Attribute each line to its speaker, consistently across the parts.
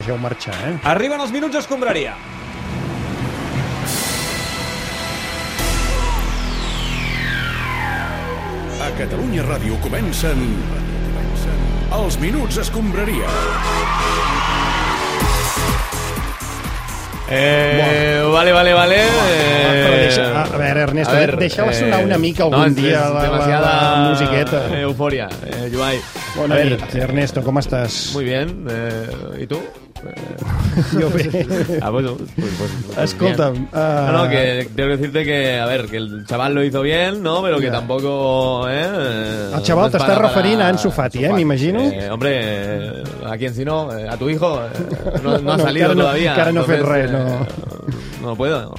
Speaker 1: deixeu marxar, eh?
Speaker 2: Arriben els minuts escombraria.
Speaker 3: A Catalunya Ràdio comencen... comencen Els Minuts Escombraria.
Speaker 4: Eh, vale, vale, vale. Eh,
Speaker 1: Però deixa, a, a veure, Ernesto, a veure, deixa-la sonar una mica algun
Speaker 4: és-
Speaker 1: dia,
Speaker 4: és
Speaker 1: la- la-
Speaker 4: demasiada
Speaker 1: la musiqueta.
Speaker 4: Euforia, eh, Joai.
Speaker 1: Bona
Speaker 4: a
Speaker 1: nit, Ernesto, com estàs?
Speaker 4: Muy bien, eh, ¿y tú?
Speaker 1: Jo bé.
Speaker 4: Eh, ah, bueno, pues, pues, pues, pues
Speaker 1: Escolta'm,
Speaker 4: bien.
Speaker 1: ah.
Speaker 4: No, no, que tengo que decirte que, a ver, que el chaval lo hizo bien, ¿no? Pero que
Speaker 1: Ya.
Speaker 4: tampoco, ¿eh?
Speaker 1: Al chaval
Speaker 4: no es
Speaker 1: te estás
Speaker 4: para-
Speaker 1: refiriendo a Ansu
Speaker 4: para-
Speaker 1: Fati, ¿eh? Me imagino.
Speaker 4: Eh, hombre, eh, ¿a quién si no? Eh, A tu hijo. eh, No, no ha
Speaker 1: No,
Speaker 4: salido
Speaker 1: encara no-
Speaker 4: todavía.
Speaker 1: encara no ha fet
Speaker 4: entonces,
Speaker 1: res, no.
Speaker 4: eh, no puedo. no.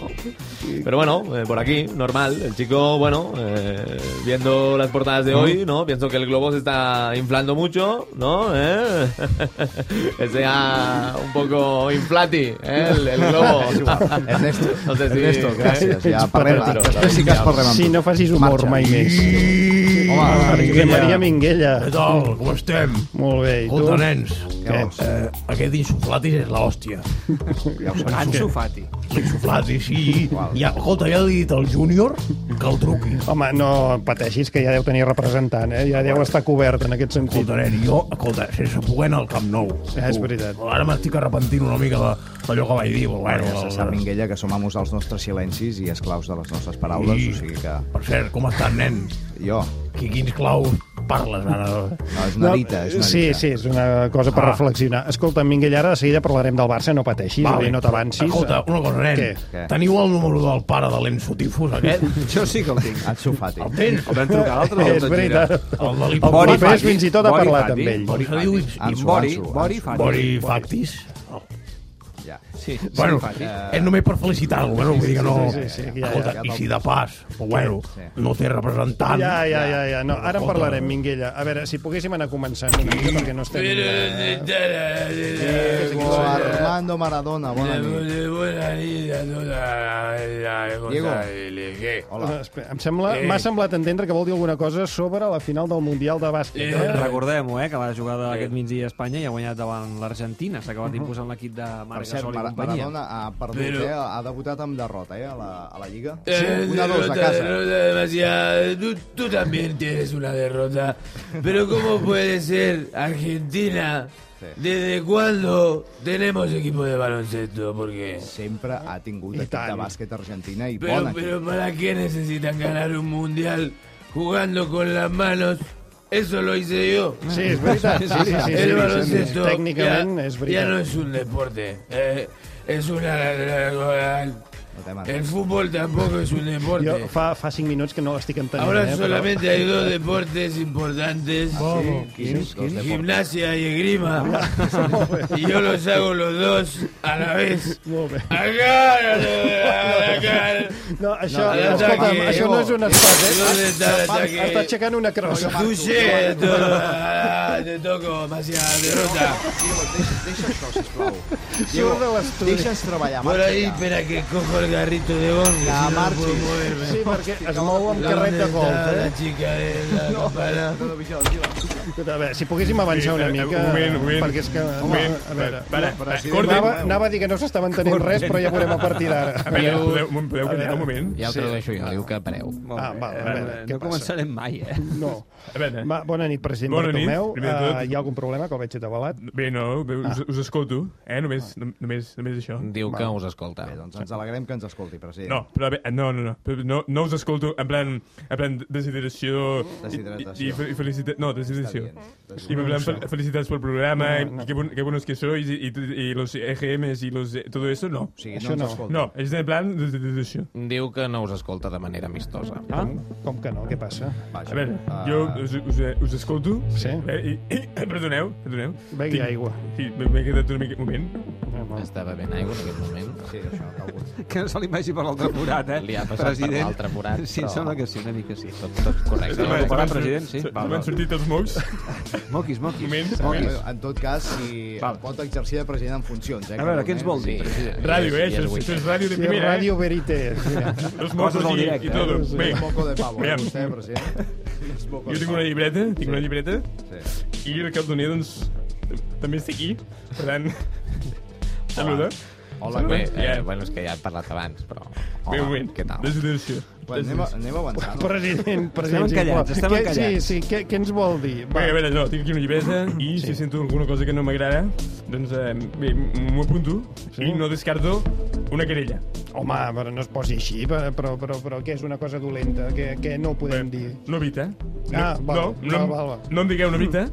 Speaker 4: Pero bueno, eh, por aquí, normal. El chico, bueno, eh, viendo las portadas de hoy, ¿no? Pienso que el globo se está inflando mucho, ¿no? ¿Eh? que sea un poco inflati, ¿eh? El, el globo.
Speaker 5: Ernesto,
Speaker 4: No sé si-
Speaker 5: Ernesto, gràcies. Ja
Speaker 1: Ets
Speaker 5: parlem.
Speaker 1: patètic.
Speaker 5: Després sí que has parlem. amb
Speaker 1: Si
Speaker 5: tu.
Speaker 1: no facis humor
Speaker 5: Marxa.
Speaker 1: mai més.
Speaker 5: Home,
Speaker 1: Josep Maria Minguella.
Speaker 6: Què tal? Com estem?
Speaker 1: Molt bé, i tu?
Speaker 6: Escolta, nens,
Speaker 1: Què?
Speaker 6: eh, aquest insuflatis és l'hòstia.
Speaker 5: Ansu Fati.
Speaker 6: Insuflatis, sí. Ja, escolta, ja he dit al júnior que el truqui.
Speaker 1: Home, no pateixis, que ja deu tenir representant, eh? Ja deu estar cobert en aquest sentit.
Speaker 6: Escolta, nen, jo, escolta, sense poder anar al Camp Nou.
Speaker 1: Ja, és veritat.
Speaker 6: Ara m'estic arrepentint una mica de- d'allò que vaig dir. Però, bueno,
Speaker 5: Bueno, se sap,
Speaker 6: el-
Speaker 5: Minguella, que som amos dels nostres silencis i esclaus de les nostres paraules,
Speaker 6: Sí.
Speaker 5: o sigui que...
Speaker 6: Per cert, com estàs, nen?
Speaker 5: Jo,
Speaker 6: Qui, quins claus parles ara?
Speaker 5: no, és una dita, és una
Speaker 1: sí,
Speaker 5: dita.
Speaker 1: sí, és una cosa per
Speaker 6: Ah.
Speaker 1: reflexionar. Escolta, Minguell, ara de seguida parlarem del Barça, no pateixis, vale. no t'avancis.
Speaker 6: Escolta, una cosa, nen.
Speaker 1: Què?
Speaker 5: Què?
Speaker 6: Teniu el número del pare de l'Enso Tifus,
Speaker 4: Eh,
Speaker 6: aquest?
Speaker 7: Jo sí que el tinc.
Speaker 5: Ansu Fati.
Speaker 6: El tens?
Speaker 7: El Eh, vam trucar l'altre dia.
Speaker 1: és veritat.
Speaker 6: El de
Speaker 1: El
Speaker 6: l'Ipopori
Speaker 1: Bori Fes
Speaker 7: Fati.
Speaker 1: fins i tot ha
Speaker 7: Bori
Speaker 1: parlat
Speaker 7: Fati.
Speaker 1: amb ell.
Speaker 6: Com se diu?
Speaker 5: Ansu,
Speaker 7: Bori,
Speaker 5: Ansu,
Speaker 7: Bori
Speaker 5: Ansu.
Speaker 7: Fati. Oh.
Speaker 6: Bori Factis?
Speaker 5: Ja.
Speaker 7: Sí, sí,
Speaker 6: Bueno,
Speaker 7: Fati.
Speaker 6: eh, és només per felicitar-lo, bueno, vull dir que no...
Speaker 1: sí, sí, sí, ja,
Speaker 6: Escolta,
Speaker 5: ja.
Speaker 6: I si de pas, però bueno, no té
Speaker 5: Eh?
Speaker 6: representant...
Speaker 1: Ja, ja, ja, ja. No, ara en parlarem, Minguella. A veure, si poguéssim anar començant una mica, perquè no estem... eh,
Speaker 5: Diego Armando Maradona, bona nit. Diego. Hola.
Speaker 1: Espera, Em sembla, m'ha
Speaker 6: Eh.
Speaker 1: semblat entendre que vol dir alguna cosa sobre la final del Mundial de Bàsquet. Eh?
Speaker 7: Recordem-ho, eh, que va jugar aquest migdia a Espanya i ha guanyat davant l'Argentina.
Speaker 4: Mhm.
Speaker 7: S'ha acabat imposant l'equip de
Speaker 5: Per
Speaker 7: Marc
Speaker 5: cert,
Speaker 7: Gasol i
Speaker 5: Mar
Speaker 7: companyia.
Speaker 5: Maradona ha perdut, eh? Ha debutat amb derrota, eh? A la, a la Lliga. Sí, una dos a
Speaker 8: Eh,
Speaker 5: casa.
Speaker 8: demasiado. eh, Tú, tú también tienes una derrota. Pero ¿cómo puede ser Argentina?
Speaker 5: Sí.
Speaker 8: ¿Desde cuándo tenemos equipo de baloncesto? Porque...
Speaker 5: Sempre ha tingut
Speaker 1: I
Speaker 5: equip de
Speaker 1: tant.
Speaker 5: bàsquet argentina i bon
Speaker 8: Pero,
Speaker 5: equip.
Speaker 8: pero ¿para qué necesitan ganar un mundial jugando con las manos? Eso lo hice yo.
Speaker 1: Sí, és veritat. Sí, sí, sí,
Speaker 8: El
Speaker 1: sí, sí,
Speaker 8: baloncesto
Speaker 1: Tècnicament
Speaker 8: ya,
Speaker 1: és
Speaker 8: ya no
Speaker 1: veritat.
Speaker 8: es un deporte. eh, es una...
Speaker 5: No té manera.
Speaker 8: El fútbol tampoco es un deporte.
Speaker 1: Jo fa, fa cinc minuts que no l'estic entenent.
Speaker 8: Ahora
Speaker 1: eh, però-
Speaker 8: solamente hay dos deportes importantes.
Speaker 5: Quins? Dos de por-
Speaker 8: Gimnasia y esgrima. Y yo los hago los dos a la vez.
Speaker 1: Molt bé.
Speaker 8: Acá, acá.
Speaker 1: No, això,
Speaker 8: No,
Speaker 1: escolta'm,
Speaker 8: Diego.
Speaker 1: això no és un estat, eh?
Speaker 8: ¿Dónde está el
Speaker 1: Està
Speaker 8: ataque?
Speaker 1: aixecant una crossa.
Speaker 8: Touché, todo. Ah, Te toco, demasiada derrota.
Speaker 5: Diego, deixa, deixa això, sisplau.
Speaker 1: Surt de l'estudi.
Speaker 5: Deixa'ns treballar,
Speaker 8: Por
Speaker 5: marxa
Speaker 8: ahí,
Speaker 5: ja.
Speaker 8: espera que cojo el garrito de bonga.
Speaker 5: Ya,
Speaker 8: si no, no
Speaker 5: marches.
Speaker 8: puedo moverme.
Speaker 1: Sí, perquè es mou amb
Speaker 8: ¿Dónde
Speaker 1: carret de
Speaker 8: está
Speaker 1: golf,
Speaker 8: la chica de la campana?
Speaker 1: eh? A veure, si poguéssim avançar una
Speaker 8: eh,
Speaker 1: mica, perquè és que... Home, a veure, Eh, anava, anava a dir que no s'estava entenent res, però ja veurem a partir d'ara.
Speaker 4: Ya te lo he dicho yo, digo que pareu.
Speaker 7: Molt
Speaker 1: Ah,
Speaker 7: bé.
Speaker 1: val, a veure,
Speaker 7: Eh,
Speaker 1: què
Speaker 7: no
Speaker 1: passa?
Speaker 7: començarem mai, eh?
Speaker 1: No. Va, bona nit, president
Speaker 9: Bona nit,
Speaker 1: Bartomeu.
Speaker 9: primer de tot.
Speaker 1: Eh, hi ha algun problema, que el veig atabalat? Ah.
Speaker 9: Bé, no, bé, us, us escolto, eh? Només, no, només, només això.
Speaker 4: Diu que us escolta.
Speaker 5: Bé, doncs ens alegrem que ens escolti, president.
Speaker 9: No, però bé, no, no, no, però no, no us escolto en plan, en plan deshidratació...
Speaker 5: Deshidratació.
Speaker 9: I, i, i felicita... No,
Speaker 5: Està
Speaker 9: deshidratació.
Speaker 5: dient.
Speaker 9: I en plan, fel- felicitats pel programa, i que, bon, que buenos que sois, i, i, i los EGMs, i los, todo eso,
Speaker 5: O
Speaker 9: no.
Speaker 5: sigui,
Speaker 1: Això
Speaker 5: no ens
Speaker 1: no.
Speaker 5: escolta.
Speaker 9: No, és en plan deshidratació.
Speaker 4: Diu que no us escolta de manera amistosa.
Speaker 1: Ah? Com que no? Què passa?
Speaker 5: Vaja.
Speaker 9: A veure,
Speaker 5: Ah,
Speaker 9: jo us, us, us escolto,
Speaker 1: Sí.
Speaker 9: eh, i, i, perdoneu, perdoneu.
Speaker 1: Begui aigua.
Speaker 9: Sí, m'he m'he quedat una mica... Un moment.
Speaker 4: Està bevent aigua en aquest moment.
Speaker 5: Ah, Sí, això, que algú...
Speaker 7: Que no se li vagi per l'altre forat, eh?
Speaker 4: Li ha passat per l'altre forat,
Speaker 7: Sí,
Speaker 4: però-
Speaker 7: em sembla que sí, una mica sí.
Speaker 4: Tot, tot correcte.
Speaker 7: Estem-
Speaker 9: Se
Speaker 7: Recuperar,
Speaker 9: m'han-
Speaker 7: president, sí.
Speaker 9: se-
Speaker 7: Val,
Speaker 9: se m'han
Speaker 7: val.
Speaker 9: sortit els mocs.
Speaker 7: Moquis, moquis.
Speaker 9: Moment.
Speaker 7: moquis.
Speaker 5: Bueno, En tot cas, si
Speaker 7: Val.
Speaker 5: pot exercir de president en funcions, eh?
Speaker 7: A veure, què ens vol dir?
Speaker 9: Ràdio, eh?
Speaker 4: Ja és
Speaker 9: Això, és-
Speaker 4: weekend.
Speaker 9: això és ràdio de
Speaker 1: Sí,
Speaker 9: primera,
Speaker 1: Ràdio Verité. Mira.
Speaker 9: eh? Los
Speaker 7: Coses
Speaker 9: mocos
Speaker 7: al
Speaker 9: i,
Speaker 7: directe,
Speaker 9: i tot.
Speaker 1: eh?
Speaker 9: Bé,
Speaker 5: Un moco de pavo, eh,
Speaker 9: Aviam.
Speaker 5: vostè, president?
Speaker 9: jo tinc una llibreta, tinc una llibreta,
Speaker 5: Sí.
Speaker 9: i el cap d'unió, doncs, també estic aquí. Per tant, Saluda.
Speaker 5: Hola,
Speaker 10: Bé,
Speaker 5: Bé,
Speaker 10: eh, bueno, és que ja hem parlat abans, però...
Speaker 9: Bé, un moment.
Speaker 10: Què tal?
Speaker 9: Desideració.
Speaker 5: pues anem, a- anem avançant.
Speaker 1: President, president.
Speaker 7: Estem encallats,
Speaker 1: sisplau.
Speaker 7: estem
Speaker 1: Què-
Speaker 7: encallats.
Speaker 1: Sí, sí, què, què ens vol dir? Va.
Speaker 9: Bé, a veure, no, tinc aquí una llibreta i sí. si sento alguna cosa que no m'agrada, doncs eh, bé, m'ho apunto sí. i no descarto una querella.
Speaker 1: Home, però no es posi així, però, però, però, però què és una cosa dolenta? Què, què no podem dir?
Speaker 9: Novita. No,
Speaker 1: Ah, val,
Speaker 9: no, no,
Speaker 1: val,
Speaker 9: em-
Speaker 1: val, val.
Speaker 9: no em digueu novita,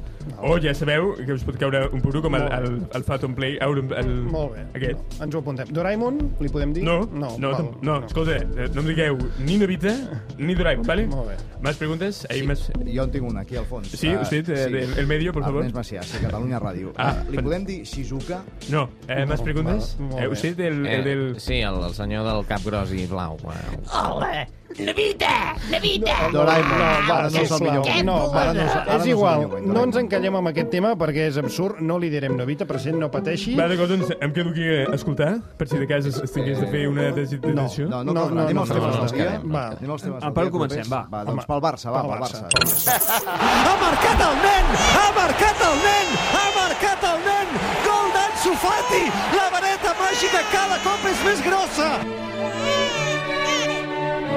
Speaker 9: o ja sabeu que us pot caure un puro com el,
Speaker 1: Molt bé.
Speaker 9: el, el Faton Play, el, el,
Speaker 1: Molt bé.
Speaker 9: aquest.
Speaker 1: Ens ho apuntem. Doraemon, li podem dir?
Speaker 9: No,
Speaker 1: No,
Speaker 9: no,
Speaker 1: val.
Speaker 9: no, no, escolta, eh, no em digueu ni Novita ni Doraemon, ¿vale?
Speaker 1: Molt bé.
Speaker 9: Más preguntes? Ahí
Speaker 5: Sí,
Speaker 9: más...
Speaker 5: Jo en tinc una aquí al fons.
Speaker 9: Sí,
Speaker 5: Ah,
Speaker 9: usted, eh, del- el medio, por favor.
Speaker 5: Ernest Macià, sí, Catalunya Ràdio.
Speaker 9: Ah,
Speaker 5: Ah, Li podem dir Shizuka?
Speaker 9: No, eh, más preguntes?
Speaker 1: Molt
Speaker 9: Eh,
Speaker 1: bé.
Speaker 9: usted, el, el del...
Speaker 10: Sí, el, el senyor del cap gros i blau. eh. Bueno.
Speaker 5: Doraemon.
Speaker 1: No, va,
Speaker 5: Ara no és el
Speaker 1: sisplau.
Speaker 5: millor.
Speaker 1: No, va,
Speaker 5: Ara no és- ara no és
Speaker 1: és
Speaker 5: el
Speaker 1: igual,
Speaker 5: millor moment,
Speaker 1: no ens
Speaker 5: Doraemon.
Speaker 1: encallem amb aquest tema perquè és absurd, no li direm novita, present, no pateixi.
Speaker 9: Va, d'acord, doncs em quedo aquí a escoltar, per si de cas es, es tingués de fer una desideració.
Speaker 5: Eh, No, no, no, no, anem als
Speaker 1: no,
Speaker 5: temes
Speaker 1: no,
Speaker 5: del
Speaker 1: no,
Speaker 5: dia.
Speaker 1: no, no, no.
Speaker 5: Anem als temes
Speaker 7: Ah,
Speaker 5: del
Speaker 7: per
Speaker 5: dia,
Speaker 7: comencem,
Speaker 5: propers.
Speaker 7: va.
Speaker 5: Va,
Speaker 1: Home,
Speaker 5: doncs pel Barça, va, pel Barça.
Speaker 11: Ha marcat el nen! Ha marcat el nen! Ha marcat el nen! Gol d'Ansu Fati! La vareta màgica cada cop és més grossa!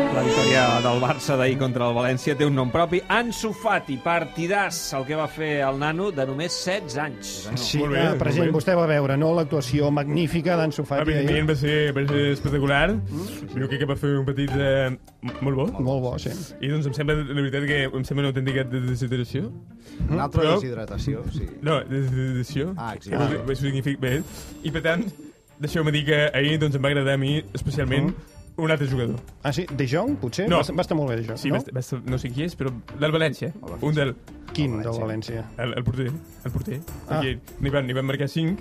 Speaker 7: La victòria del Barça d'ahir contra el València té un nom propi. Ansu Fati, partidàs, el que va fer el nano de només 16 anys.
Speaker 1: Sí,
Speaker 9: Molt bé,
Speaker 1: ah,
Speaker 9: molt
Speaker 1: present,
Speaker 9: bé.
Speaker 1: vostè va veure, no? L'actuació magnífica d'Anso Fati. ahir.
Speaker 9: Evidentment va ser, va ser espectacular.
Speaker 5: Mm.
Speaker 9: Jo crec que va fer un petit... Eh, molt bo.
Speaker 1: Molt bo, sí.
Speaker 9: I doncs em sembla, la veritat, que em sembla una autèntica desideració.
Speaker 5: Una altra
Speaker 9: Però-
Speaker 5: deshidratació, sí.
Speaker 9: No, desideració.
Speaker 5: Ah, exacte.
Speaker 9: Vol dir- significa, bé. I per tant, deixeu-me dir que ahir doncs, em va agradar a mi especialment
Speaker 5: Mm.
Speaker 9: un altre jugador.
Speaker 1: Ah, sí? De Jong, potser?
Speaker 9: No.
Speaker 1: Va, ser- va estar molt bé, de Jong,
Speaker 9: Sí,
Speaker 1: no?
Speaker 9: no? Va estar, no sé qui és, però del València.
Speaker 5: València.
Speaker 9: Un del...
Speaker 1: Quin del València?
Speaker 9: El, el porter. El porter.
Speaker 1: Ah.
Speaker 9: Ah. N'hi van, n'hi van marcar 5,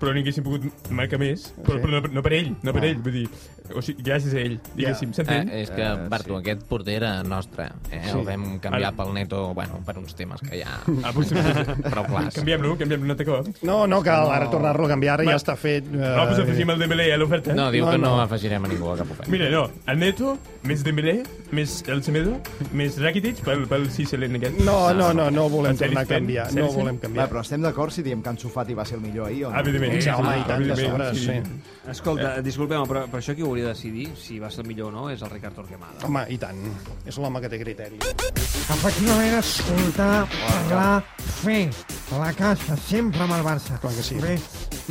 Speaker 9: però n'hi haguessin pogut marcar més. Però,
Speaker 1: Sí. Ah.
Speaker 9: però no, no per ell, no per ell. Vull dir, o sigui, gràcies a ell, diguéssim.
Speaker 10: Eh,
Speaker 9: S'entén?
Speaker 10: és que, Bartu, aquest porter era nostre. Eh?
Speaker 1: Sí.
Speaker 10: El vam canviar
Speaker 9: Ara-
Speaker 10: pel neto, bueno, per uns temes que ja...
Speaker 9: Ah, potser, potser.
Speaker 10: Prou clars.
Speaker 9: Canviem-lo, canviem-lo un altre cop.
Speaker 1: No, no cal ara tornar-lo a canviar, ara
Speaker 9: Va.
Speaker 1: ja està fet. eh,
Speaker 9: No, doncs afegim el Dembélé a l'oferta.
Speaker 10: No, diu
Speaker 1: No,
Speaker 10: que no,
Speaker 1: no.
Speaker 10: afegirem a ningú a cap oferta.
Speaker 9: Mira, no, el Neto, més Dembélé, més el Semedo, més Rakitic, pel, pel Cicelen aquest.
Speaker 1: No, no, no, no el volem
Speaker 9: En sèrie,
Speaker 1: tornar a canviar.
Speaker 9: en
Speaker 1: No el
Speaker 9: sèrie?
Speaker 1: volem
Speaker 5: Va,
Speaker 1: canviar.
Speaker 5: però estem d'acord si diem que Ansu Fati va ser el millor ahir o no?
Speaker 9: Evidentment.
Speaker 1: Sí, home, i tant,
Speaker 9: Evidentment,
Speaker 1: de sobres,
Speaker 12: Eh.
Speaker 7: Escolta, disculpeu però, però això qui ho hauria de decidir, si va ser el millor o no, és el Ricard Torquemada.
Speaker 1: Home, i tant. És l'home que té criteri.
Speaker 11: Efectivament, escoltar, parlar, fer la caixa, sempre amb el Barça.
Speaker 1: Clar que sí.
Speaker 11: Bé,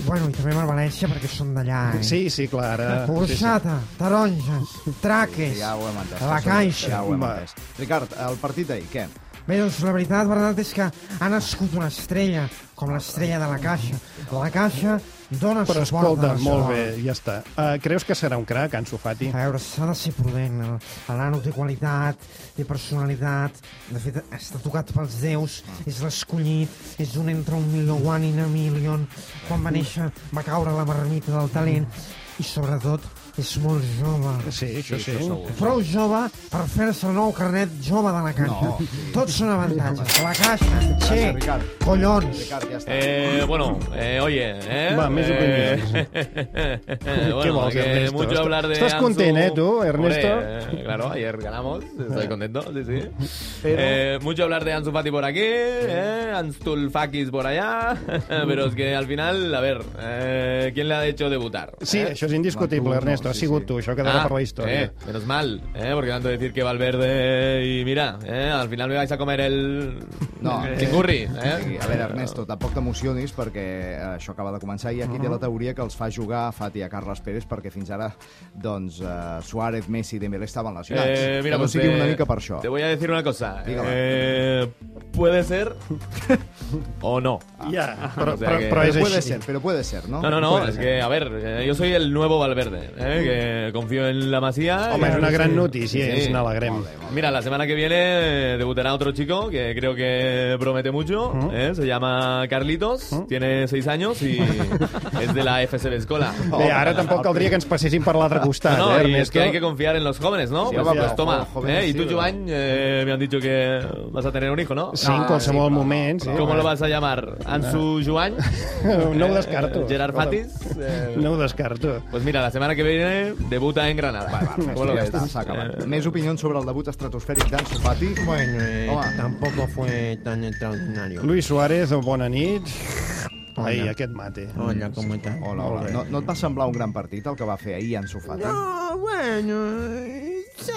Speaker 11: bueno, i també amb el València, perquè són d'allà, eh?
Speaker 1: Sí, sí, clar. ara- sí, sí.
Speaker 11: Orxata, taronges, traques,
Speaker 5: Ja ho hem entès.
Speaker 11: Ah, la caixa.
Speaker 5: Ja ho hem
Speaker 1: Va.
Speaker 5: entès. Ricard, el partit d'ahir, què?
Speaker 11: Bé, doncs la veritat, la veritat és que ha nascut una estrella, com l'estrella de la Caixa. La Caixa dona
Speaker 1: Però
Speaker 11: suport
Speaker 1: escolta,
Speaker 11: a
Speaker 1: molt bé,
Speaker 11: Barcelona.
Speaker 1: ja està. Uh, creus que serà un crac, Ansu Fati?
Speaker 11: A veure, s'ha de ser prudent. El, el nano té qualitat, té personalitat, de fet, està tocat pels déus, és l'escollit, és un entre un milió, one in a million. Quan va néixer va caure la marmita del talent i, sobretot, és molt jove.
Speaker 1: Sí, això sí.
Speaker 11: Prou jove per fer-se el nou carnet jove de la caixa.
Speaker 5: No, sí.
Speaker 11: Tots són avantatges. La caixa, xec,
Speaker 5: Ricard.
Speaker 11: collons.
Speaker 5: Ricard, ja està.
Speaker 4: Eh, bueno, eh, oye, eh.
Speaker 1: Va, més
Speaker 4: eh,
Speaker 1: opiniones.
Speaker 4: bueno,
Speaker 1: ¿Qué voz,
Speaker 4: que
Speaker 1: Ernesto?
Speaker 4: mucho
Speaker 1: Estás-
Speaker 4: hablar de
Speaker 1: estás
Speaker 4: Ansu-
Speaker 1: contento, ¿eh, tú, Ernesto?
Speaker 4: Hombre, eh, claro, ayer ganamos, estoy contento, sí, sí. Eh, mucho hablar de Ansu Fati por aquí, eh, Anstulfakis por allá, pero es que al final, a ver, eh, ¿quién le ha hecho debutar?
Speaker 1: Sí, això és indiscutible,
Speaker 5: Va, tu, Eh? no,
Speaker 1: Ernesto. Ha
Speaker 5: sí,
Speaker 1: sigut
Speaker 5: sí.
Speaker 1: tu, això quedarà
Speaker 4: Ah,
Speaker 1: per la història.
Speaker 4: eh, menos mal, eh, porque tanto decir que Valverde y mira, eh, al final me vais a comer el
Speaker 5: No,
Speaker 4: el
Speaker 5: eh,
Speaker 4: chingurri,
Speaker 5: O sigui,
Speaker 4: eh.
Speaker 5: a veure, Ernesto, tampoc t'emocionis perquè eh, això acaba de començar i aquí té la teoria que els fa jugar a Fati i a Carles Pérez perquè fins ara, doncs, eh, Suárez, Messi i Dembélé estaven lesionats.
Speaker 4: Eh,
Speaker 5: que no
Speaker 4: pues
Speaker 5: sigui
Speaker 4: te-
Speaker 5: una mica per això.
Speaker 4: Te voy a decir una cosa.
Speaker 5: Dígame.
Speaker 4: Eh, puede ser o no.
Speaker 1: Ja, però,
Speaker 4: O sea
Speaker 1: però,
Speaker 4: que-
Speaker 1: però és
Speaker 5: Pero puede
Speaker 1: així.
Speaker 5: ser, pero puede ser, ¿no?
Speaker 4: No, no, no, es que, a ver, eh, yo soy el nuevo Valverde, eh, que confío en la Masía.
Speaker 1: Home,
Speaker 4: y-
Speaker 1: és una gran
Speaker 4: Sí,
Speaker 1: notícia,
Speaker 4: sí.
Speaker 1: ens n'alegrem.
Speaker 4: Mira, la semana que viene eh, debutará otro chico que creo que promete mucho. ¿eh? Se llama Carlitos, tiene seis años y es de la FSB Escola.
Speaker 1: Bé, ara tampoc caldria que ens passessin per l'altre costat,
Speaker 4: No,
Speaker 1: eh,
Speaker 4: y es
Speaker 1: Ernesto?
Speaker 4: que hay que confiar en los jóvenes, ¿no? pues,
Speaker 5: vamos,
Speaker 4: pues toma.
Speaker 5: jóvenes
Speaker 4: ¿eh? Y
Speaker 5: sí,
Speaker 4: tú,
Speaker 5: ¿verdad?
Speaker 4: Joan, eh, me han dicho que vas a tener un hijo, ¿no? Ah,
Speaker 1: Sí,
Speaker 5: Ah,
Speaker 1: en qualsevol moment, sí.
Speaker 4: ¿Cómo lo vas a llamar? ¿Ansu Joan?
Speaker 1: No ho
Speaker 4: Eh,
Speaker 1: descarto.
Speaker 4: ¿Gerard
Speaker 1: Escolta,
Speaker 4: Fatis? Eh,
Speaker 1: No ho descarto.
Speaker 4: Pues mira, la semana que viene debuta en Granada. ¿Cómo lo
Speaker 5: Ja
Speaker 4: ves?
Speaker 5: està, s'ha acabat. Més opinions sobre el debut estratosfèric d'Ansu Fati.
Speaker 10: Bueno,
Speaker 5: Home.
Speaker 10: tampoco fue tan extraordinario.
Speaker 1: Luis Suárez, bona oh, nit. Hola. Ai, aquest mate.
Speaker 5: Hola, com estàs? Hola, hola. No, no et va semblar un gran partit el que va fer ahir en Sofati?
Speaker 12: No, bueno... Sí,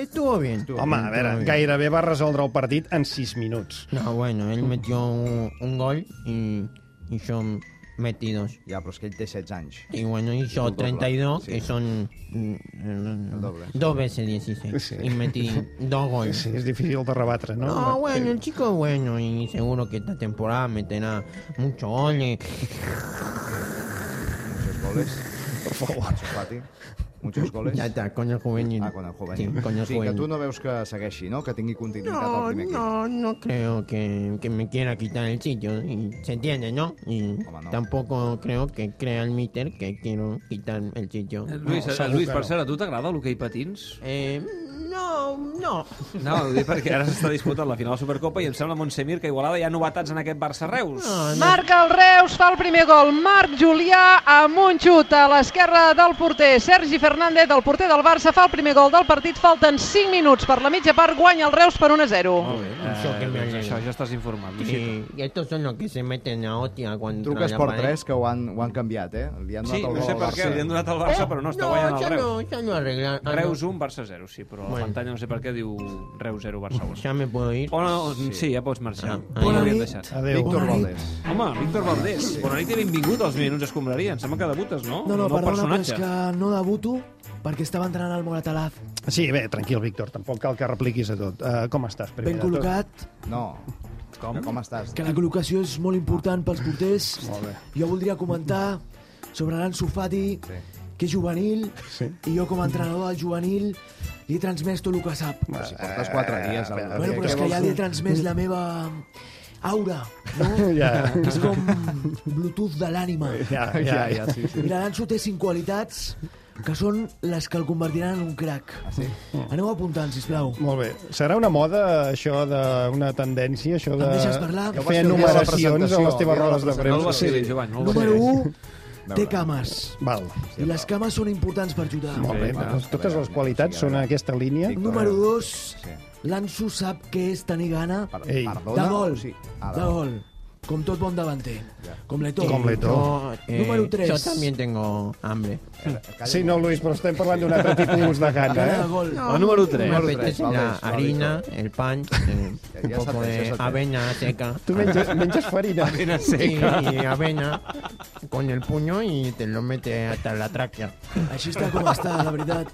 Speaker 12: estuvo bien. Estuvo
Speaker 1: Home,
Speaker 12: bien,
Speaker 1: a veure,
Speaker 12: estuvo bien.
Speaker 1: gairebé va resoldre el partit en 6 minuts.
Speaker 12: No, bueno, él metió un, un gol y, y son metidos.
Speaker 5: Ja, però és que ell té 16 anys.
Speaker 12: Y bueno,
Speaker 5: El
Speaker 12: hizo
Speaker 5: doble,
Speaker 12: 32,
Speaker 5: sí.
Speaker 12: que son mm,
Speaker 5: doble.
Speaker 12: dos veces 16.
Speaker 1: Sí.
Speaker 12: Y metí dos goles.
Speaker 1: Sí, és difícil de rebatre, no?
Speaker 12: No, bueno, el chico es bueno y seguro que esta temporada meterá mucho goles.
Speaker 5: Muchos goles. Por favor. Sofati. Muchos goles.
Speaker 12: Ya está, con el juvenil.
Speaker 5: Ah, con el juvenil.
Speaker 12: Sí, con el
Speaker 5: sí, que
Speaker 12: juvenil.
Speaker 5: tu no veus que segueixi, no? Que tingui continuïtat al
Speaker 12: No,
Speaker 5: primer equip.
Speaker 12: no, no creo que, que me quiera quitar el sitio. Y se entiende, ¿no? Y tampoco creo que crea el míster que quiero quitar el sitio.
Speaker 7: Lluís,
Speaker 12: No,
Speaker 7: eh,
Speaker 12: segur
Speaker 7: Lluís,
Speaker 12: que
Speaker 7: per
Speaker 12: no.
Speaker 7: cert, a tu t'agrada l'hoquei patins?
Speaker 12: Eh, no, no.
Speaker 7: No, ho dic perquè ara s'està disputant la final de Supercopa i em sembla, Montsemir, que a Igualada hi ha novetats en aquest Barça-Reus.
Speaker 13: Marca el Reus, fa el primer gol Marc Julià amb un xut a l'esquerra del porter. Sergi Fernández, el porter del Barça, fa el primer gol del partit. Falten 5 minuts per la mitja part, guanya el Reus per 1 a 0.
Speaker 7: Molt bé,
Speaker 12: Això que
Speaker 7: eh, doncs
Speaker 12: m'agrada.
Speaker 7: això ja estàs informat,
Speaker 12: Sí,
Speaker 7: Luisito.
Speaker 12: y estos son los que se meten a hostia cuando...
Speaker 5: Truques per 3 que ho han, ho han canviat, eh? Li han donat
Speaker 7: Sí,
Speaker 5: el gol
Speaker 7: no sé
Speaker 5: al
Speaker 7: per què,
Speaker 5: Barça.
Speaker 7: li han donat al Barça, però no està
Speaker 12: no,
Speaker 7: guanyant
Speaker 12: ja
Speaker 7: el Reus.
Speaker 12: no, ja no arregla- ah, no.
Speaker 7: Reus 1, Barça 0, sí, però a la
Speaker 12: Bueno.
Speaker 7: pantalla no sé per què diu Reus 0, Barça 1.
Speaker 12: Ja me puedo ir?
Speaker 7: Bueno, sí, ja pots marxar.
Speaker 12: Ah,
Speaker 7: Ja
Speaker 12: ah.
Speaker 7: l'hauríem deixat.
Speaker 12: Adéu. Víctor
Speaker 7: Bona nit.
Speaker 12: Valdés.
Speaker 7: Home, Víctor Valdés. Bona nit i benvingut als Minuts Escombraria. Em sembla que debutes, no?
Speaker 8: No, no,
Speaker 7: Un nou
Speaker 8: perdona, però és
Speaker 7: personatge.
Speaker 8: que no debuto perquè estava entrenant al Moratalaz.
Speaker 1: Sí, bé, tranquil, Víctor, tampoc cal que repliquis a tot. Uh, com estàs, primer
Speaker 8: Ben
Speaker 1: de tot?
Speaker 8: col·locat.
Speaker 5: No. Com? Com estàs?
Speaker 8: Que la col·locació és molt important pels porters.
Speaker 5: Molt bé.
Speaker 8: Jo voldria comentar sobre l'Anso Fati,
Speaker 5: Sí.
Speaker 8: que és juvenil, sí. i jo com a entrenador del juvenil li he transmès tot el que sap.
Speaker 5: Però si portes 4 dies... Al...
Speaker 8: Bueno, però és que ja li he transmès la meva aura, no?
Speaker 5: Ja.
Speaker 8: Que És com Bluetooth de l'ànima.
Speaker 5: Ja, ja, ja, sí, sí.
Speaker 8: I l'Anso té cinc qualitats que són les que el convertiran en un crac. Ah, sí? Aneu apuntant, sisplau.
Speaker 1: Molt bé. Serà una moda, això, de, una tendència, això de
Speaker 8: Em deixes parlar? Ja ho vas
Speaker 1: fer
Speaker 8: fer el dia de la
Speaker 1: enumeracions a les
Speaker 8: presentació,
Speaker 1: teves
Speaker 8: el dia de la
Speaker 1: rodes de premsa?
Speaker 8: presentació. No el vas fer, Joan, no el vas fer. Número u, Té cames.
Speaker 1: Val.
Speaker 8: I les cames són importants per ajudar.
Speaker 1: Molt bé, doncs totes les qualitats són a aquesta línia.
Speaker 8: Número 2, l'Anso sap què és tenir gana
Speaker 1: Ei.
Speaker 8: de
Speaker 1: Perdona?
Speaker 8: gol.
Speaker 1: O sigui, ah,
Speaker 8: De gol. Com tot bon davanter. Com l'Eto.
Speaker 1: Com l'Eto'o.
Speaker 12: Eh,
Speaker 8: Número 3.
Speaker 12: Yo también tengo hambre.
Speaker 1: Sí, no, Luis, però estem parlant d'un altre tipus de gana, eh?
Speaker 12: No, Me apetece la harina, el pan, eh, un
Speaker 1: ja
Speaker 12: poco
Speaker 1: s'ha fet, ja
Speaker 12: de
Speaker 1: s'ha fet.
Speaker 12: avena seca.
Speaker 1: Tu menges- menges farina.
Speaker 12: Avena
Speaker 1: seca.
Speaker 12: Y, avena con el puño y te lo mete hasta la tráquea.
Speaker 8: Així està com està, la veritat.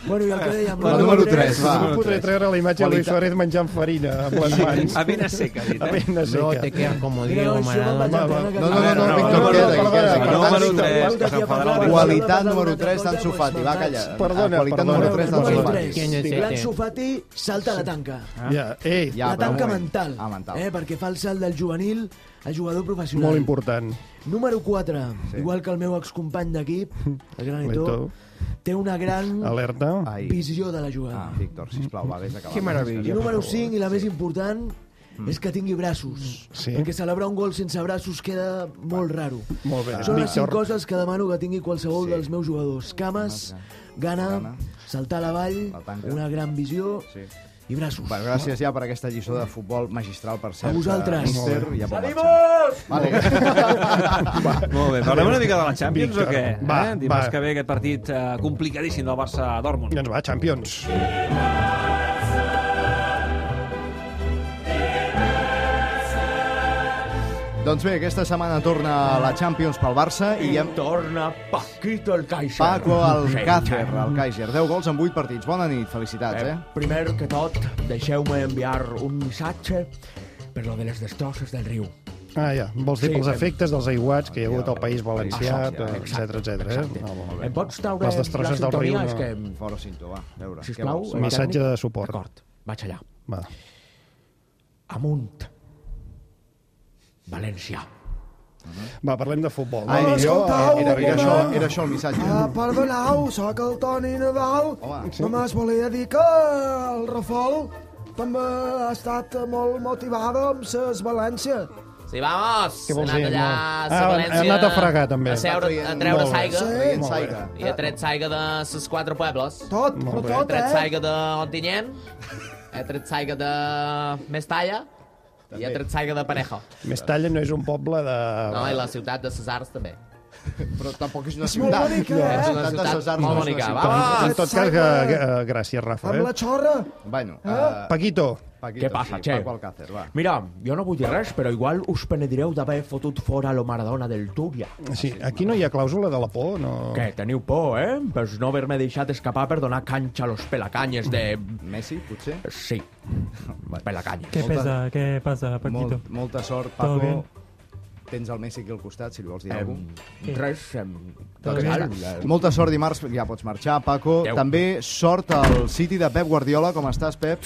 Speaker 8: Bueno, i el que dèiem...
Speaker 1: La número tres, No podré treure la imatge de Luis
Speaker 8: Qualitat.
Speaker 1: Suárez menjant farina amb les mans.
Speaker 7: Avena seca, dit, eh?
Speaker 1: Avena seca.
Speaker 12: No te quedas como Diego Maradona.
Speaker 1: Eh.
Speaker 5: No, no, no, no, Víctor,
Speaker 1: perdona,
Speaker 5: queda, queda.
Speaker 1: perdona, perdona,
Speaker 5: Perdona,
Speaker 1: Víctor,
Speaker 5: Víctor, Víctor,
Speaker 1: Víctor, Víctor,
Speaker 5: Víctor,
Speaker 1: Víctor,
Speaker 5: Qualitat
Speaker 1: Víctor,
Speaker 5: número
Speaker 1: Víctor,
Speaker 5: 3 d'Anso Fati, va, calla.
Speaker 1: Perdona,
Speaker 5: Qualitat
Speaker 1: perdona.
Speaker 5: número 3 d'Anso
Speaker 1: Número
Speaker 5: Fati.
Speaker 1: tres.
Speaker 8: Sí,
Speaker 1: Sí.
Speaker 8: L'Anso Fati salta la tanca.
Speaker 1: Ja, eh.
Speaker 8: la
Speaker 1: però un
Speaker 8: tanca
Speaker 1: moment.
Speaker 8: mental, Eh, perquè fa el salt del juvenil a jugador professional.
Speaker 1: Molt important.
Speaker 8: Número 4, igual que el meu excompany d'equip, el gran Eto,
Speaker 1: Eto.
Speaker 8: té una gran
Speaker 1: Alerta.
Speaker 8: visió de la jugada.
Speaker 5: Ah, Víctor, sisplau, va, vés acabant.
Speaker 8: I número 5, i la més important, és que tingui braços.
Speaker 1: Mm. Sí.
Speaker 8: Perquè celebrar un gol sense braços queda molt raro.
Speaker 1: Molt bé.
Speaker 8: Són les 5
Speaker 1: Víctor.
Speaker 8: coses que demano que tingui qualsevol dels meus jugadors. Cames, gana, saltar a la vall, una gran visió i braços.
Speaker 5: Bueno, gràcies ja per aquesta lliçó de futbol magistral, per cert.
Speaker 8: A vosaltres.
Speaker 5: Mister, ja pot marxar.
Speaker 7: Va. Molt bé, parlem una mica de la Champions o
Speaker 1: Víctor,
Speaker 7: què?
Speaker 1: va,
Speaker 7: eh? Dimarts
Speaker 1: va.
Speaker 7: que ve aquest partit eh, complicadíssim del Barça-Dortmund.
Speaker 1: Doncs va, Champions.
Speaker 5: Doncs bé, aquesta setmana torna la Champions pel Barça i hem...
Speaker 7: Torna Paquito el Kaiser.
Speaker 5: Paco Alcácer, el Kaiser. 10 gols en 8 partits. Bona nit, felicitats, eh?
Speaker 8: Primer que tot, deixeu-me enviar un missatge per lo de les destrosses del riu.
Speaker 1: Ah, ja. Vols dir
Speaker 8: Sí,
Speaker 1: pels
Speaker 8: que-
Speaker 1: efectes dels aiguats que hi ha hagut al País Valencià,
Speaker 8: Exacte,
Speaker 1: etc etc.
Speaker 8: exacte.
Speaker 1: No, eh? Ah, molt bé.
Speaker 8: Em pots treure
Speaker 1: Les destrosses
Speaker 8: la
Speaker 1: del riu...
Speaker 8: sintonia? És
Speaker 1: no.
Speaker 8: que-
Speaker 5: Fora cinto, va, a veure.
Speaker 8: Sisplau,
Speaker 5: què
Speaker 1: eh?
Speaker 8: el
Speaker 5: vols?
Speaker 1: Missatge de suport.
Speaker 8: D'acord, vaig allà.
Speaker 1: Va.
Speaker 8: Amunt. València.
Speaker 1: Va, parlem de futbol.
Speaker 5: Ai,
Speaker 1: no? eh,
Speaker 5: jo,
Speaker 1: Escoltau,
Speaker 5: era, era, això,
Speaker 14: eh?
Speaker 1: home.
Speaker 5: era això el missatge. eh?
Speaker 1: Ah,
Speaker 15: Perdoneu, sóc el Toni Nadal.
Speaker 5: Home.
Speaker 15: Només volia dir que el Rafol també ha estat molt motivada amb ses València.
Speaker 10: Sí, vamos!
Speaker 1: Què vols
Speaker 10: He anat
Speaker 1: dir?
Speaker 10: allà
Speaker 1: Ah,
Speaker 10: a
Speaker 1: han-
Speaker 10: València
Speaker 1: han anat a fregar, també.
Speaker 10: A, seure, a treure
Speaker 1: Molt bé.
Speaker 10: saiga.
Speaker 1: Sí, Traient molt saiga.
Speaker 10: I he tret saiga de ses quatre pobles.
Speaker 15: Tot,
Speaker 1: Molt però bé. tot,
Speaker 10: He tret
Speaker 1: eh?
Speaker 10: saiga de Ontinyent, he tret saiga de Mestalla, I ha tret saiga de Parejo.
Speaker 1: Mestalla no és un poble de...
Speaker 10: No, i la ciutat de Cesars també.
Speaker 5: Però tampoc és una
Speaker 15: És molt
Speaker 5: ciutat.
Speaker 15: bonica,
Speaker 5: No,
Speaker 15: eh?
Speaker 5: és una
Speaker 10: La ciutat
Speaker 5: ciutat,
Speaker 10: molt
Speaker 5: no és una
Speaker 10: bonica,
Speaker 5: ciutat.
Speaker 10: va.
Speaker 1: En tot cas, que, que, eh, gràcies, Rafa.
Speaker 15: Amb la
Speaker 1: Eh?
Speaker 15: xorra.
Speaker 5: Bueno,
Speaker 15: eh?
Speaker 1: Paquito.
Speaker 5: Paquito,
Speaker 16: Què passa,
Speaker 5: sí,
Speaker 16: Che?
Speaker 5: Paco Alcácer, va.
Speaker 16: Mira, jo no vull dir res, però igual us penedireu d'haver fotut fora lo Maradona del Túria.
Speaker 1: Sí, aquí no hi ha clàusula de la por, no...
Speaker 16: Que teniu por, eh? Pues no haver-me deixat escapar per donar canxa a los pelacanyes de...
Speaker 5: Messi, potser?
Speaker 16: Sí. Pelacanyes.
Speaker 17: Què pesa, què passa, Paquito?
Speaker 5: Molt, molta sort,
Speaker 17: Todo
Speaker 5: Paco.
Speaker 17: bien.
Speaker 5: Tens el Messi aquí al costat, si li vols dir
Speaker 16: Em,
Speaker 5: alguna
Speaker 16: Sí. res, em,
Speaker 5: Tot
Speaker 16: tot
Speaker 5: bé.
Speaker 16: bé.
Speaker 5: Molta sort dimarts, ja pots marxar, Paco.
Speaker 16: Adéu.
Speaker 5: També sort al City de Pep Guardiola. Com estàs, Pep?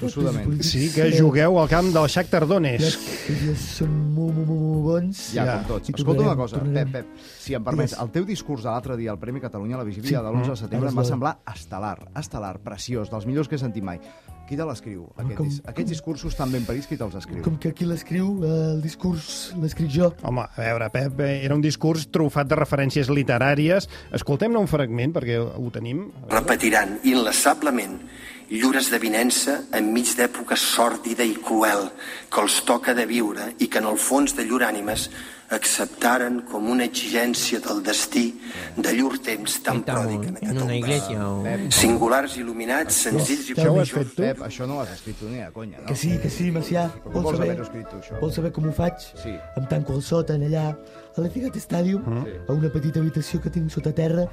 Speaker 5: Tossudament.
Speaker 1: Sí, que jugueu al camp del Shakhtar Donetsk.
Speaker 5: Els dies són molt, molt, molt bons. Ja,
Speaker 1: Ja.
Speaker 5: com tots.
Speaker 1: I
Speaker 5: Escolta una
Speaker 1: tornarem,
Speaker 5: cosa,
Speaker 1: tornarem.
Speaker 5: Pep, Pep, si em permets, el teu discurs de l'altre dia al Premi Catalunya a la vigília
Speaker 1: Sí.
Speaker 5: de l'11 de setembre em va
Speaker 1: Mm.
Speaker 5: semblar estel·lar, estel·lar, preciós, dels millors que he sentit mai. Qui te l'escriu? Aquest,
Speaker 15: Com-
Speaker 5: dis- aquests discursos tan ben parits, qui te'ls escriu?
Speaker 15: Com que aquí l'escriu, eh, el discurs l'escric jo.
Speaker 1: Home, a veure, Pep, eh, era un discurs trufat de referències literàries. Escoltem-ne un fragment, perquè ho tenim.
Speaker 6: repetiran inlassablement llures d'avinença enmig d'època sòrdida i cruel que els toca de viure i que en el fons de llur ànimes acceptaren com una exigència del destí de llur temps tan pròdig en
Speaker 12: En una iglesia o...
Speaker 6: Singulars, il·luminats, senzills i
Speaker 5: Això ho has
Speaker 6: preciosos.
Speaker 5: fet tu? Pep, això no ho has escrit tu ni de conya, no?
Speaker 15: Que sí, que sí, Macià.
Speaker 5: Com
Speaker 15: Vols
Speaker 5: vols
Speaker 15: saber,
Speaker 5: haver-ho escrit tu, això?
Speaker 15: vols saber com ho faig?
Speaker 5: Sí.
Speaker 15: Em tanco al sota, en allà, a l'Ethigat Stadium,
Speaker 5: Mm. Sí. Mm.
Speaker 15: a una petita habitació que tinc sota terra,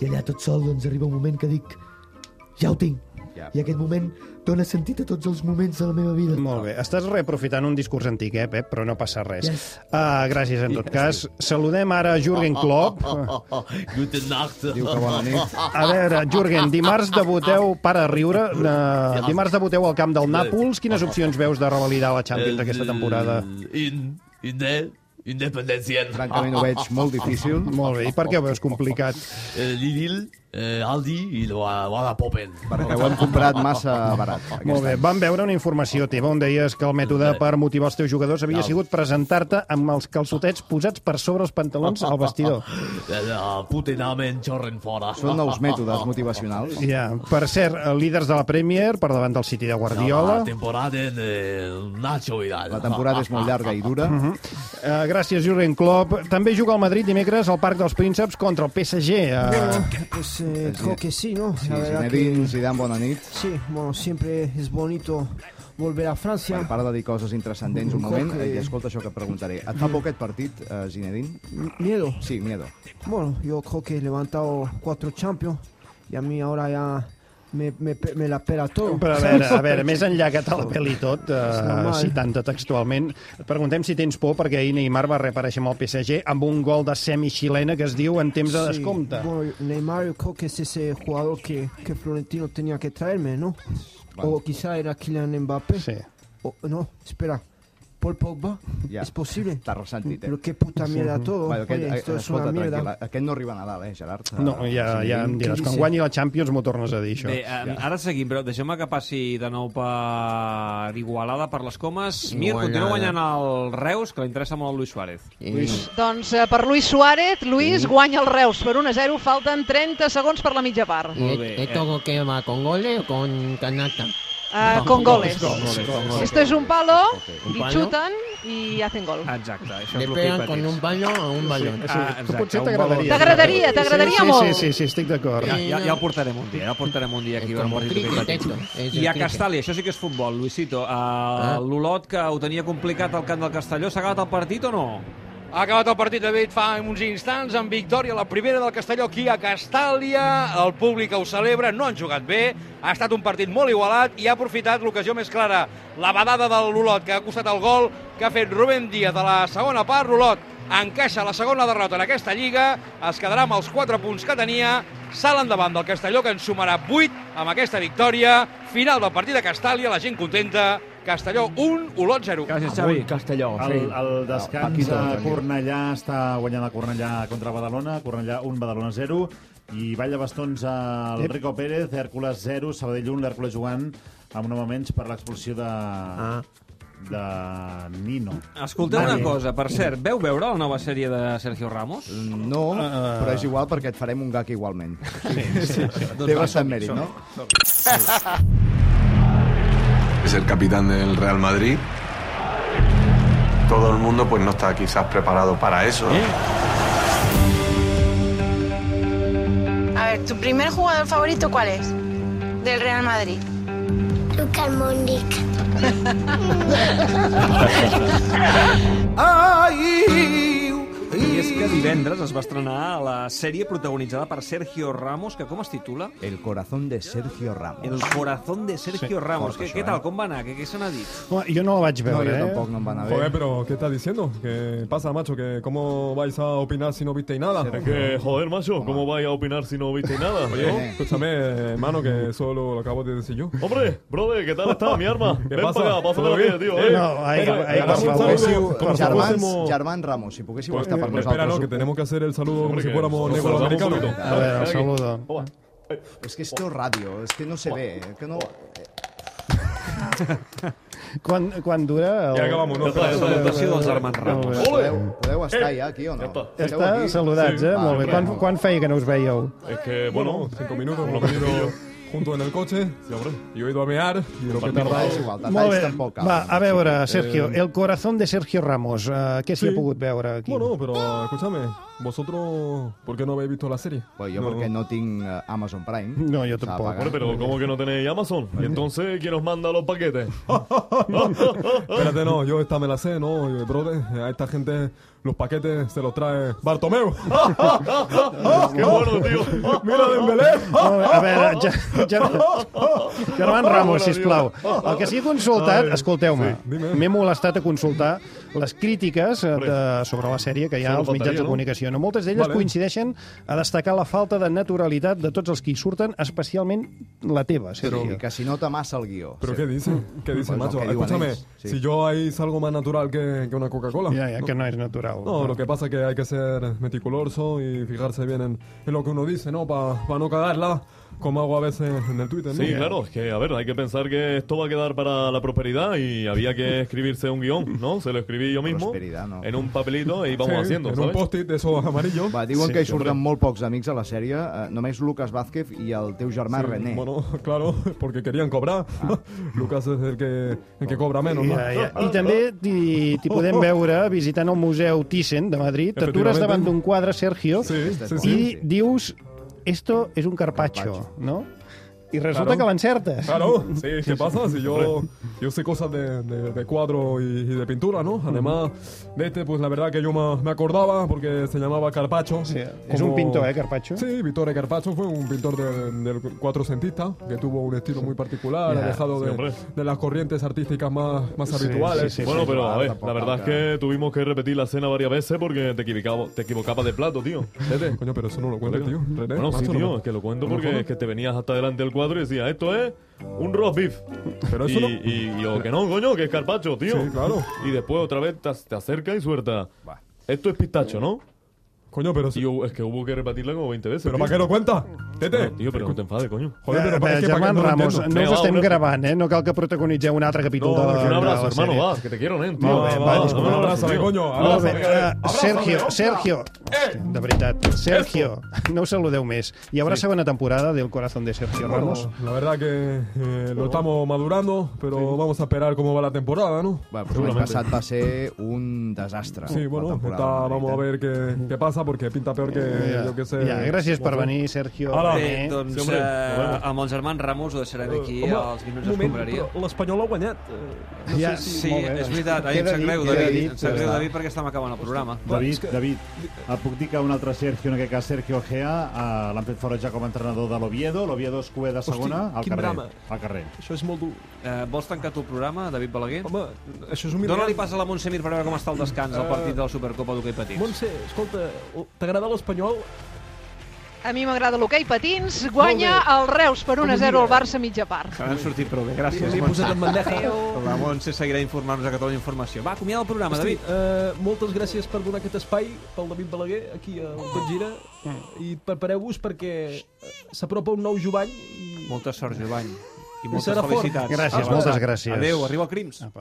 Speaker 15: i allà tot sol doncs, arriba un moment que dic ja ho tinc.
Speaker 5: Ja.
Speaker 15: I aquest moment dona sentit a tots els moments de la meva vida.
Speaker 1: Molt bé. Estàs reaprofitant un discurs antic, eh, Pep? Però no passa res.
Speaker 15: Yes.
Speaker 1: Ah, gràcies, en tot cas. Saludem ara Jürgen
Speaker 5: Ah,
Speaker 1: Klopp.
Speaker 10: Guten Nacht.
Speaker 5: Diu que bona nit.
Speaker 1: A veure, Jürgen, dimarts debuteu... Para a riure. Eh, dimarts debuteu al camp del Nàpols.
Speaker 5: Ah.
Speaker 1: Quines opcions veus de revalidar la Champions aquesta temporada?
Speaker 18: In, inde, independència.
Speaker 5: Francament ho veig molt difícil.
Speaker 1: Molt bé. I per què ho veus complicat?
Speaker 18: Eh, Lidl, eh, Aldi i la, la de Popen.
Speaker 5: Perquè ho hem comprat massa barat.
Speaker 1: Molt bé, vam veure una informació teva on deies que el mètode per motivar els teus jugadors havia
Speaker 18: No.
Speaker 1: sigut presentar-te amb els calçotets posats per sobre els pantalons al vestidor.
Speaker 18: Eh, eh, Putenamen xorren fora.
Speaker 5: Són nous mètodes motivacionals.
Speaker 1: Ja, per cert, eh, líders de la Premier per davant del City de
Speaker 18: La
Speaker 1: Guardiola.
Speaker 18: temporada en eh, Nacho Vidal.
Speaker 5: La temporada és molt llarga i dura.
Speaker 1: Uh -huh. uh, gràcies, Jurgen Klopp. També juga al Madrid dimecres al Parc dels Prínceps contra el PSG. Uh,
Speaker 14: Pues eh, creo que sí, ¿no?
Speaker 5: Doncs Sí,
Speaker 14: La verdad
Speaker 5: Zinedine
Speaker 14: que-
Speaker 5: Zidane, bona nit.
Speaker 14: Sí, bueno, siempre es bonito volver a Francia.
Speaker 5: A part de dir coses intrascendents un
Speaker 14: Un
Speaker 5: moment,
Speaker 14: poc,
Speaker 5: eh,
Speaker 14: eh,
Speaker 5: i escolta això que et preguntaré. Et fa por aquest partit, eh, Zinedine?
Speaker 14: Miedo.
Speaker 5: Sí, miedo.
Speaker 14: Bueno, yo creo que he levantado cuatro champions y a mí ahora ya me, me, pe- me la pela todo.
Speaker 1: Però a veure, a veure, més enllà que te la peli tot,
Speaker 14: És
Speaker 1: eh,
Speaker 14: normal.
Speaker 1: citant-te textualment, et preguntem si tens por, perquè ahir Neymar va reaparèixer amb el PSG amb un gol de semi-xilena que es diu en temps de
Speaker 14: Sí,
Speaker 1: descompte.
Speaker 14: Bueno, Neymar yo creo que es ese jugador que, que Florentino tenía que traerme, ¿no? O quizá era Kylian Mbappé. O- no, espera. Paul Pogba.
Speaker 5: Ja.
Speaker 14: Es posible.
Speaker 5: T'has ressentit, eh?
Speaker 14: Però que puta mierda todo.
Speaker 5: Bueno, aquest,
Speaker 14: Oye, esto es
Speaker 5: escolta,
Speaker 14: una mierda.
Speaker 5: tranquil, aquest no arriba a Nadal, eh,
Speaker 14: Ah,
Speaker 5: Gerard?
Speaker 1: No, ja, ja em diràs, quan guanyi la Champions m'ho tornes a dir, això.
Speaker 7: Bé, eh, ara seguim, però deixem que passi de nou per Igualada, per les comes. Mir,
Speaker 1: Igualada.
Speaker 7: continua guanyant el Reus, que li interessa molt el Luis Suárez.
Speaker 1: Luis.
Speaker 13: Doncs eh, per Luis Suárez, Luis guanya el Reus per 1 a 0, falten 30 segons per la mitja part.
Speaker 12: ¿Y esto que va con goles o con canasta?
Speaker 13: Eh, con goles.
Speaker 12: Con goles, con goles.
Speaker 13: Esto es un palo,
Speaker 12: Un
Speaker 13: li
Speaker 12: palo.
Speaker 13: xuten i hacen gol.
Speaker 7: Exacte, això
Speaker 12: Le
Speaker 7: és el
Speaker 12: pegan
Speaker 7: que
Speaker 12: con un balón a un balón.
Speaker 1: Ah, potser t'agradaria.
Speaker 13: T'agradaria, t'agradaria
Speaker 1: sí,
Speaker 13: molt.
Speaker 1: Sí, sí, sí, estic d'acord.
Speaker 7: Ja, ja, ja ho portarem un dia, ja ho portarem un dia aquí.
Speaker 1: com
Speaker 7: veurem un
Speaker 1: cricket,
Speaker 7: partit aquest.
Speaker 1: esto. És
Speaker 7: I a
Speaker 1: el cricket.
Speaker 7: Castàlia, això sí que és futbol, Luisito.
Speaker 5: Ah.
Speaker 7: Uh, L'Olot, que ho tenia complicat al camp del Castelló, s'ha acabat el partit o no?
Speaker 2: Ha acabat el partit, David, fa uns instants, amb victòria la primera del Castelló aquí a Castàlia. El públic ho celebra, no han jugat bé, ha estat un partit molt igualat i ha aprofitat l'ocasió més clara, la badada de l'Olot, que ha costat el gol que ha fet Rubén Díaz a la segona part. L'Olot encaixa la segona derrota en aquesta lliga, es quedarà amb els 4 punts que tenia, salt endavant del Castelló, que en sumarà 8 amb aquesta victòria. Final del partit a Castàlia, la gent contenta, Castelló 1, Olot 0. Gràcies,
Speaker 19: Avui, El, el descans
Speaker 2: Paquito,
Speaker 19: a
Speaker 2: Paquito.
Speaker 19: Cornellà està guanyant la Cornellà contra Badalona. Cornellà 1, Badalona 0. I ball de bastons al
Speaker 1: Ep.
Speaker 19: Rico Pérez, Hèrcules 0, Sabadell 1, l'Hèrcules jugant amb un home menys per l'expulsió de... Ah de Nino.
Speaker 7: Escolteu una
Speaker 19: Nani.
Speaker 7: cosa, per cert, veu veure la nova sèrie de Sergio Ramos?
Speaker 5: No,
Speaker 16: Ah.
Speaker 5: però és igual perquè et farem un gag igualment. Sí,
Speaker 7: sí, sí.
Speaker 5: Té
Speaker 7: Doncs
Speaker 5: bastant
Speaker 7: som-hi,
Speaker 5: mèrit, no?
Speaker 20: Es el capitán del Real Madrid.
Speaker 21: todo el mundo pues no está quizás preparado para eso.
Speaker 20: A ver, ¿tu primer jugador favorito cuál es? Del Real Madrid.
Speaker 22: Lucas Mónica.
Speaker 14: Ai! I és que divendres es va estrenar la sèrie protagonitzada per Sergio Ramos, que com es titula?
Speaker 5: El corazón de Sergio Ramos.
Speaker 14: El corazón de Sergio
Speaker 5: Sí,
Speaker 14: Ramos.
Speaker 5: fort,
Speaker 14: Què,
Speaker 5: això,
Speaker 14: què
Speaker 5: eh?
Speaker 14: tal? Com va anar? Què, què se n'ha dit?
Speaker 1: Home, jo no la vaig veure, eh?
Speaker 16: Joder, pero ¿qué estás diciendo? ¿Qué pasa, macho? ¿Que ¿Cómo vais a opinar si no visteis nada?
Speaker 23: Sergio.
Speaker 16: Que, joder, macho, ¿cómo vais a opinar si no visteis nada? Oye, escúchame, hermano, que eso lo, lo acabo de decir yo.
Speaker 23: Hombre, brother, ¿qué tal está mi arma?
Speaker 16: ¿Qué
Speaker 23: Ven
Speaker 16: pasa?
Speaker 23: para acá, pásatela
Speaker 16: ¿Todo
Speaker 23: bien,
Speaker 16: bien?
Speaker 23: tío.
Speaker 16: Eh,
Speaker 23: eh.
Speaker 16: no, ahí,
Speaker 23: Venga,
Speaker 16: ahí,
Speaker 23: venga,
Speaker 16: por
Speaker 23: un
Speaker 16: favor.
Speaker 23: saludo,
Speaker 16: Como si
Speaker 5: Germans,
Speaker 16: fuésemos-
Speaker 5: Germán Ramos, si poguéssiu estar per
Speaker 16: Pues, Espera,
Speaker 5: nosaltres.
Speaker 16: no, que tenemos que hacer el saludo como
Speaker 5: Hombre,
Speaker 16: si
Speaker 5: que-
Speaker 16: fuéramos
Speaker 5: nos
Speaker 16: negros
Speaker 5: saludamos
Speaker 16: americanos.
Speaker 5: un poquito. A ver, os saludo. Es que esto es radio, es que no se ve, que no...
Speaker 1: Quan, quan dura?
Speaker 5: Ja acabamos, no? Ja està, ja està, la presentació dels germans Ramos.
Speaker 1: Molt bé.
Speaker 5: Podeu, podeu
Speaker 16: Eh,
Speaker 5: estar ja aquí o no? Esteu
Speaker 1: Està,
Speaker 5: aquí? Ah,
Speaker 1: saludats, eh?
Speaker 5: Va,
Speaker 1: Molt bé.
Speaker 5: vinga.
Speaker 1: Quan, quan feia que no us veieu?
Speaker 16: Es que, bueno, cinco minutos, lo he ido junto en el coche. Yo he ido a mear y lo que Eh,
Speaker 5: Partido
Speaker 16: tardaba
Speaker 5: es igual,
Speaker 1: Molt bé. Va, a veure, Sergio, El corazón de Sergio Ramos. Uh, què
Speaker 16: Sí.
Speaker 1: s'hi ha pogut veure aquí?
Speaker 16: Bueno, pero escúchame, vosotros, ¿por qué no habéis visto la serie?
Speaker 5: Pues yo porque no tengo Amazon Prime.
Speaker 1: No, yo
Speaker 5: tampoco.
Speaker 23: Hombre, pero ¿cómo que no tenéis Amazon? ¿Y entonces quién os manda los paquetes?
Speaker 16: Espérate, no, yo esta me la sé, no, eh, brother. A esta gente los paquetes se los trae Bartomeu.
Speaker 23: ¡Qué bueno, tío!
Speaker 16: ¡Mira Dembélé!
Speaker 1: Molt bé, A veure, ja, ja, Germán Ramos, sisplau. El que sí he consultat,
Speaker 16: Ai,
Speaker 1: escolteu-me,
Speaker 16: sí, dime.
Speaker 1: m'he molestat a consultar les crítiques eh, de, sobre la sèrie que hi ha
Speaker 16: Solo
Speaker 1: als mitjans
Speaker 16: faltaria,
Speaker 1: de
Speaker 16: no?
Speaker 1: comunicació. No? Moltes d'elles
Speaker 16: Vale.
Speaker 1: coincideixen a destacar la falta de naturalitat de tots els que hi surten, especialment la teva,
Speaker 5: Pero
Speaker 1: Sergio.
Speaker 5: que si nota más al guió.
Speaker 16: ¿Pero qué dice? ¿Qué dice,
Speaker 5: Pues lo
Speaker 16: macho?
Speaker 5: que digan
Speaker 16: Escúchame,
Speaker 5: ellos, sí.
Speaker 16: si yo ahí es algo más natural que, que una Coca-Cola.
Speaker 1: Ja, ja, que no és natural.
Speaker 16: No, lo que pasa es que hay que ser meticuloso y fijarse bien en, en lo que uno dice, ¿no? Para no cagarla, como hago a veces en el Twitter, ¿no?
Speaker 23: Sí, claro, es que, a ver, hay que pensar que esto va a quedar para la prosperidad y había que escribirse un guión, ¿no? Se lo escribí yo mismo en un papelito y vamos
Speaker 16: Sí,
Speaker 23: haciendo,
Speaker 16: en un
Speaker 23: ¿sabes?
Speaker 16: post-it de esos amarillos.
Speaker 5: Va, diuen que hi surten molt pocs amics a la sèrie, eh, només Lucas Vázquez i el teu germà
Speaker 16: Sí,
Speaker 5: René.
Speaker 16: Bueno, claro, porque querían cobrar.
Speaker 1: Ah.
Speaker 16: Lucas es el que, el que cobra menos. ¿no?
Speaker 1: Ja, ja. Eh, I també t'hi t'hi podem veure visitant el Museu Thyssen de Madrid. T'atures
Speaker 16: Efectivamente.
Speaker 1: davant d'un quadre, Sergio,
Speaker 16: sí,
Speaker 1: i
Speaker 16: sí.
Speaker 1: dius, esto es un carpaccio, no? I resulta que l'encertes.
Speaker 16: Claro, sí, ¿qué pasa? Si yo, yo sé cosas de, de- de cuadro y, y de pintura, ¿no? Además de este, pues la verdad que yo me, me acordaba porque se llamaba Carpacho.
Speaker 1: Es un pintor, ¿eh, Carpacho?
Speaker 16: Sí, Vittore Carpacho fue un pintor de- del cuatrocentista que tuvo un estilo muy particular,
Speaker 23: Ya.
Speaker 16: alejado
Speaker 23: Sí,
Speaker 16: de-
Speaker 23: hombre.
Speaker 16: de, las corrientes artísticas más, más
Speaker 23: Sí,
Speaker 16: habituales.
Speaker 23: sí, sí, bueno, pero a ver, la verdad es que tuvimos que repetir la cena varias veces porque te equivocabas, te equivocabas de plato, tío. Tete.
Speaker 16: Coño, pero eso no lo cuentes, tío. René,
Speaker 23: bueno, sí,
Speaker 16: macho,
Speaker 23: tío,
Speaker 16: no me-
Speaker 23: es que lo cuento
Speaker 16: no me
Speaker 23: porque
Speaker 16: jodas.
Speaker 23: es que te venías hasta delante del cuadro y decías, esto es un roast beef.
Speaker 16: Pero eso
Speaker 23: y,
Speaker 16: no-
Speaker 23: y- y yo, que no, coño, que es carpacho, tío.
Speaker 16: Sí, claro.
Speaker 23: Y después otra vez te, te acerca y suelta. Esto es pistacho, ¿no?
Speaker 16: Coño, pero...
Speaker 23: Y hubo- es que hubo que repetirla como 20 veces.
Speaker 16: Pero
Speaker 23: tío.
Speaker 16: ¿para qué lo cuenta? Tete.
Speaker 23: No, tío, pero no te enfades, coño.
Speaker 16: Joder, pero
Speaker 1: Eh,
Speaker 16: para-
Speaker 1: eh,
Speaker 16: es que para
Speaker 1: Germán
Speaker 16: que no lo
Speaker 1: Ramos,
Speaker 16: entiendo.
Speaker 1: no us
Speaker 16: Venga,
Speaker 1: estem
Speaker 16: hombre.
Speaker 1: gravant, eh? No cal que protagonitzeu un altre capítol
Speaker 23: No,
Speaker 1: de eh? la
Speaker 23: un abrazo,
Speaker 1: de la
Speaker 23: hermano,
Speaker 1: sèrie.
Speaker 23: va, que te quiero, nen, tío.
Speaker 1: Molt bé, va,
Speaker 23: Va,
Speaker 1: disculpa.
Speaker 23: un abrazo,
Speaker 1: Molt
Speaker 23: coño,
Speaker 1: bé,
Speaker 23: abrazo,
Speaker 1: eh,
Speaker 23: venga,
Speaker 1: Sergio,
Speaker 23: abrazo,
Speaker 1: Sergio, de veritat, Sergio, no us saludeu més. Hi haurà segona temporada del Corazón de Sergio
Speaker 16: Bueno,
Speaker 1: Ramos.
Speaker 16: la verdad que eh, lo estamos madurando, pero vamos a esperar cómo va la temporada, ¿no?
Speaker 5: Va, pues l'any passat va ser un desastre.
Speaker 16: Sí,
Speaker 5: la
Speaker 16: bueno,
Speaker 5: temporada,
Speaker 16: está-
Speaker 5: la
Speaker 16: vamos a
Speaker 5: veritat.
Speaker 16: ver qué, qué pasa, porque pinta peor que
Speaker 5: Ya,
Speaker 16: yo que sé.
Speaker 1: ya, gracias por venir, Sergio.
Speaker 16: Hola.
Speaker 7: Bé,
Speaker 24: eh,
Speaker 7: doncs
Speaker 16: Sí,
Speaker 7: sí,
Speaker 16: hombre.
Speaker 7: eh, amb els germans Ramos ho deixarem aquí
Speaker 24: Home,
Speaker 7: als minuts
Speaker 24: un moment,
Speaker 7: d'escombraria.
Speaker 24: però L'Espanyol ha guanyat. Eh, No
Speaker 7: Ja, sí,
Speaker 24: molt bé,
Speaker 7: és
Speaker 24: doncs.
Speaker 7: veritat. Ai, em
Speaker 24: Queda
Speaker 7: sap
Speaker 24: dit,
Speaker 7: greu,
Speaker 24: queda
Speaker 7: David.
Speaker 24: dit, eh, Doncs,
Speaker 7: Em sap
Speaker 24: ja
Speaker 7: greu,
Speaker 24: està.
Speaker 7: David, perquè estem acabant el programa. Doncs,
Speaker 19: David, David, et puc dir que un altre Sergio, en aquest cas Sergio Gea, eh, l'han fet fora ja com a entrenador de l'Oviedo, l'Oviedo és cué de segona,
Speaker 7: Hosti,
Speaker 19: al
Speaker 7: quin
Speaker 19: carrer.
Speaker 7: drama.
Speaker 19: Al carrer.
Speaker 7: Això és molt dur. Eh, vols tancar tu el programa, David Balaguer?
Speaker 24: Home, això és humiliant.
Speaker 7: Dóna-li pas a la Montsemir per veure com està el descans del
Speaker 24: Eh,
Speaker 7: partit de la Supercopa d'hoquei patins.
Speaker 24: Montse, escolta, t'agrada l'Espanyol?
Speaker 13: A mi m'agrada l'hoquei patins, guanya el Reus per 1-0 al Barça mitja part.
Speaker 7: N'han sortit prou bé, gràcies.
Speaker 24: Li he
Speaker 7: Montse.
Speaker 24: posat en bandeja.
Speaker 7: Adéu. La Montse seguirà informant-nos a Catalunya Informació. Va, acomiada el programa,
Speaker 24: Hosti,
Speaker 7: David.
Speaker 24: eh, moltes gràcies per donar aquest espai pel David Balaguer aquí al Tot Gira
Speaker 1: Mm.
Speaker 24: i prepareu-vos perquè eh, s'apropa un nou jovany i
Speaker 7: Molta sort, Jovany. I
Speaker 24: I
Speaker 7: moltes
Speaker 24: serà fort.
Speaker 7: felicitats.
Speaker 24: Gràcies,
Speaker 7: Apa.
Speaker 24: moltes
Speaker 1: gràcies.
Speaker 7: Adéu, arriba el Crims. Apa.